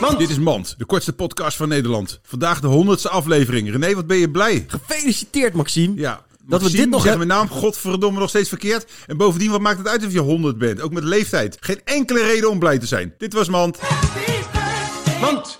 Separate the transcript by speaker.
Speaker 1: Mand.
Speaker 2: Dit is Mand, de kortste podcast van Nederland. Vandaag de honderdste aflevering. René, wat ben je blij?
Speaker 1: Gefeliciteerd, Maxime.
Speaker 2: Ja.
Speaker 1: Dat we dit nog
Speaker 2: zeggen
Speaker 1: hebben.
Speaker 2: mijn naam, godverdomme, nog steeds verkeerd. En bovendien, wat maakt het uit of je 100 bent? Ook met leeftijd. Geen enkele reden om blij te zijn. Dit was Mand.
Speaker 1: Mand.